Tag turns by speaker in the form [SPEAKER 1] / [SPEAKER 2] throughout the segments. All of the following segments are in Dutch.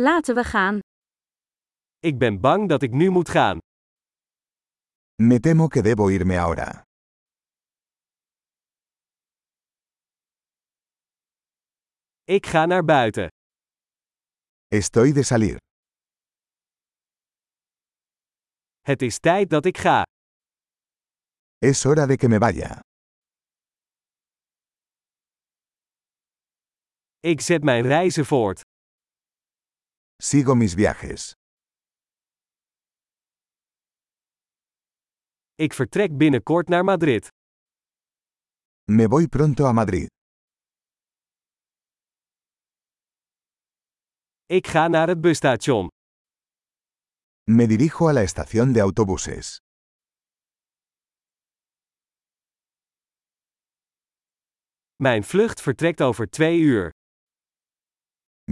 [SPEAKER 1] Laten we gaan.
[SPEAKER 2] Ik ben bang dat ik nu moet gaan.
[SPEAKER 3] Me temo que debo irme ahora.
[SPEAKER 2] Ik ga naar buiten.
[SPEAKER 3] Estoy de salir.
[SPEAKER 2] Het is tijd dat ik ga.
[SPEAKER 3] Es hora de que me vaya.
[SPEAKER 2] Ik zet mijn reizen voort.
[SPEAKER 3] Sigo mis viajes.
[SPEAKER 2] Ik vertrek binnenkort naar Madrid.
[SPEAKER 3] Me voy pronto a Madrid.
[SPEAKER 2] Ik ga naar het busstation.
[SPEAKER 3] Me dirijo a la estación de autobuses.
[SPEAKER 2] Mijn vlucht vertrekt over twee uur.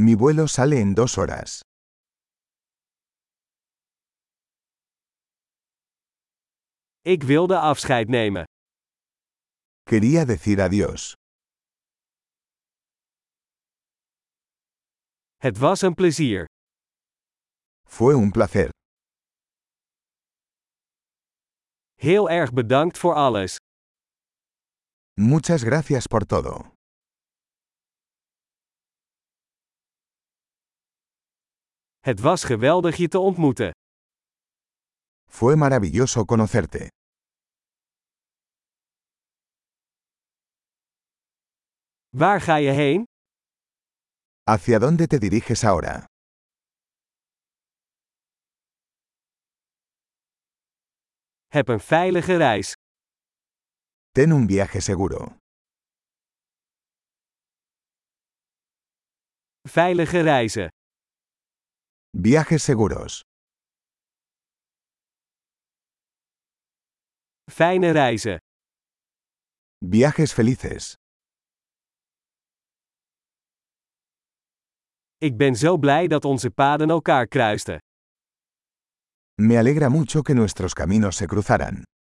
[SPEAKER 3] Mi vuelo sale en dos horas.
[SPEAKER 2] Ik wilde afscheid nemen.
[SPEAKER 3] Quería decir adiós.
[SPEAKER 2] Het was een plezier.
[SPEAKER 3] Fue un placer.
[SPEAKER 2] Heel erg bedankt voor alles.
[SPEAKER 3] Muchas gracias por todo.
[SPEAKER 2] Het was geweldig je te ontmoeten.
[SPEAKER 3] Fue maravilloso conocerte.
[SPEAKER 2] Waar ga je heen?
[SPEAKER 3] ¿Hacia dónde te diriges ahora?
[SPEAKER 2] Heb een veilige reis.
[SPEAKER 3] Ten un viaje seguro.
[SPEAKER 2] Veilige reizen.
[SPEAKER 3] Viajes seguros.
[SPEAKER 2] Fijne reizen.
[SPEAKER 3] Viajes felices.
[SPEAKER 2] Ik ben zo blij dat onze paden elkaar kruisten.
[SPEAKER 3] Me alegra mucho que nuestros caminos se cruzaran.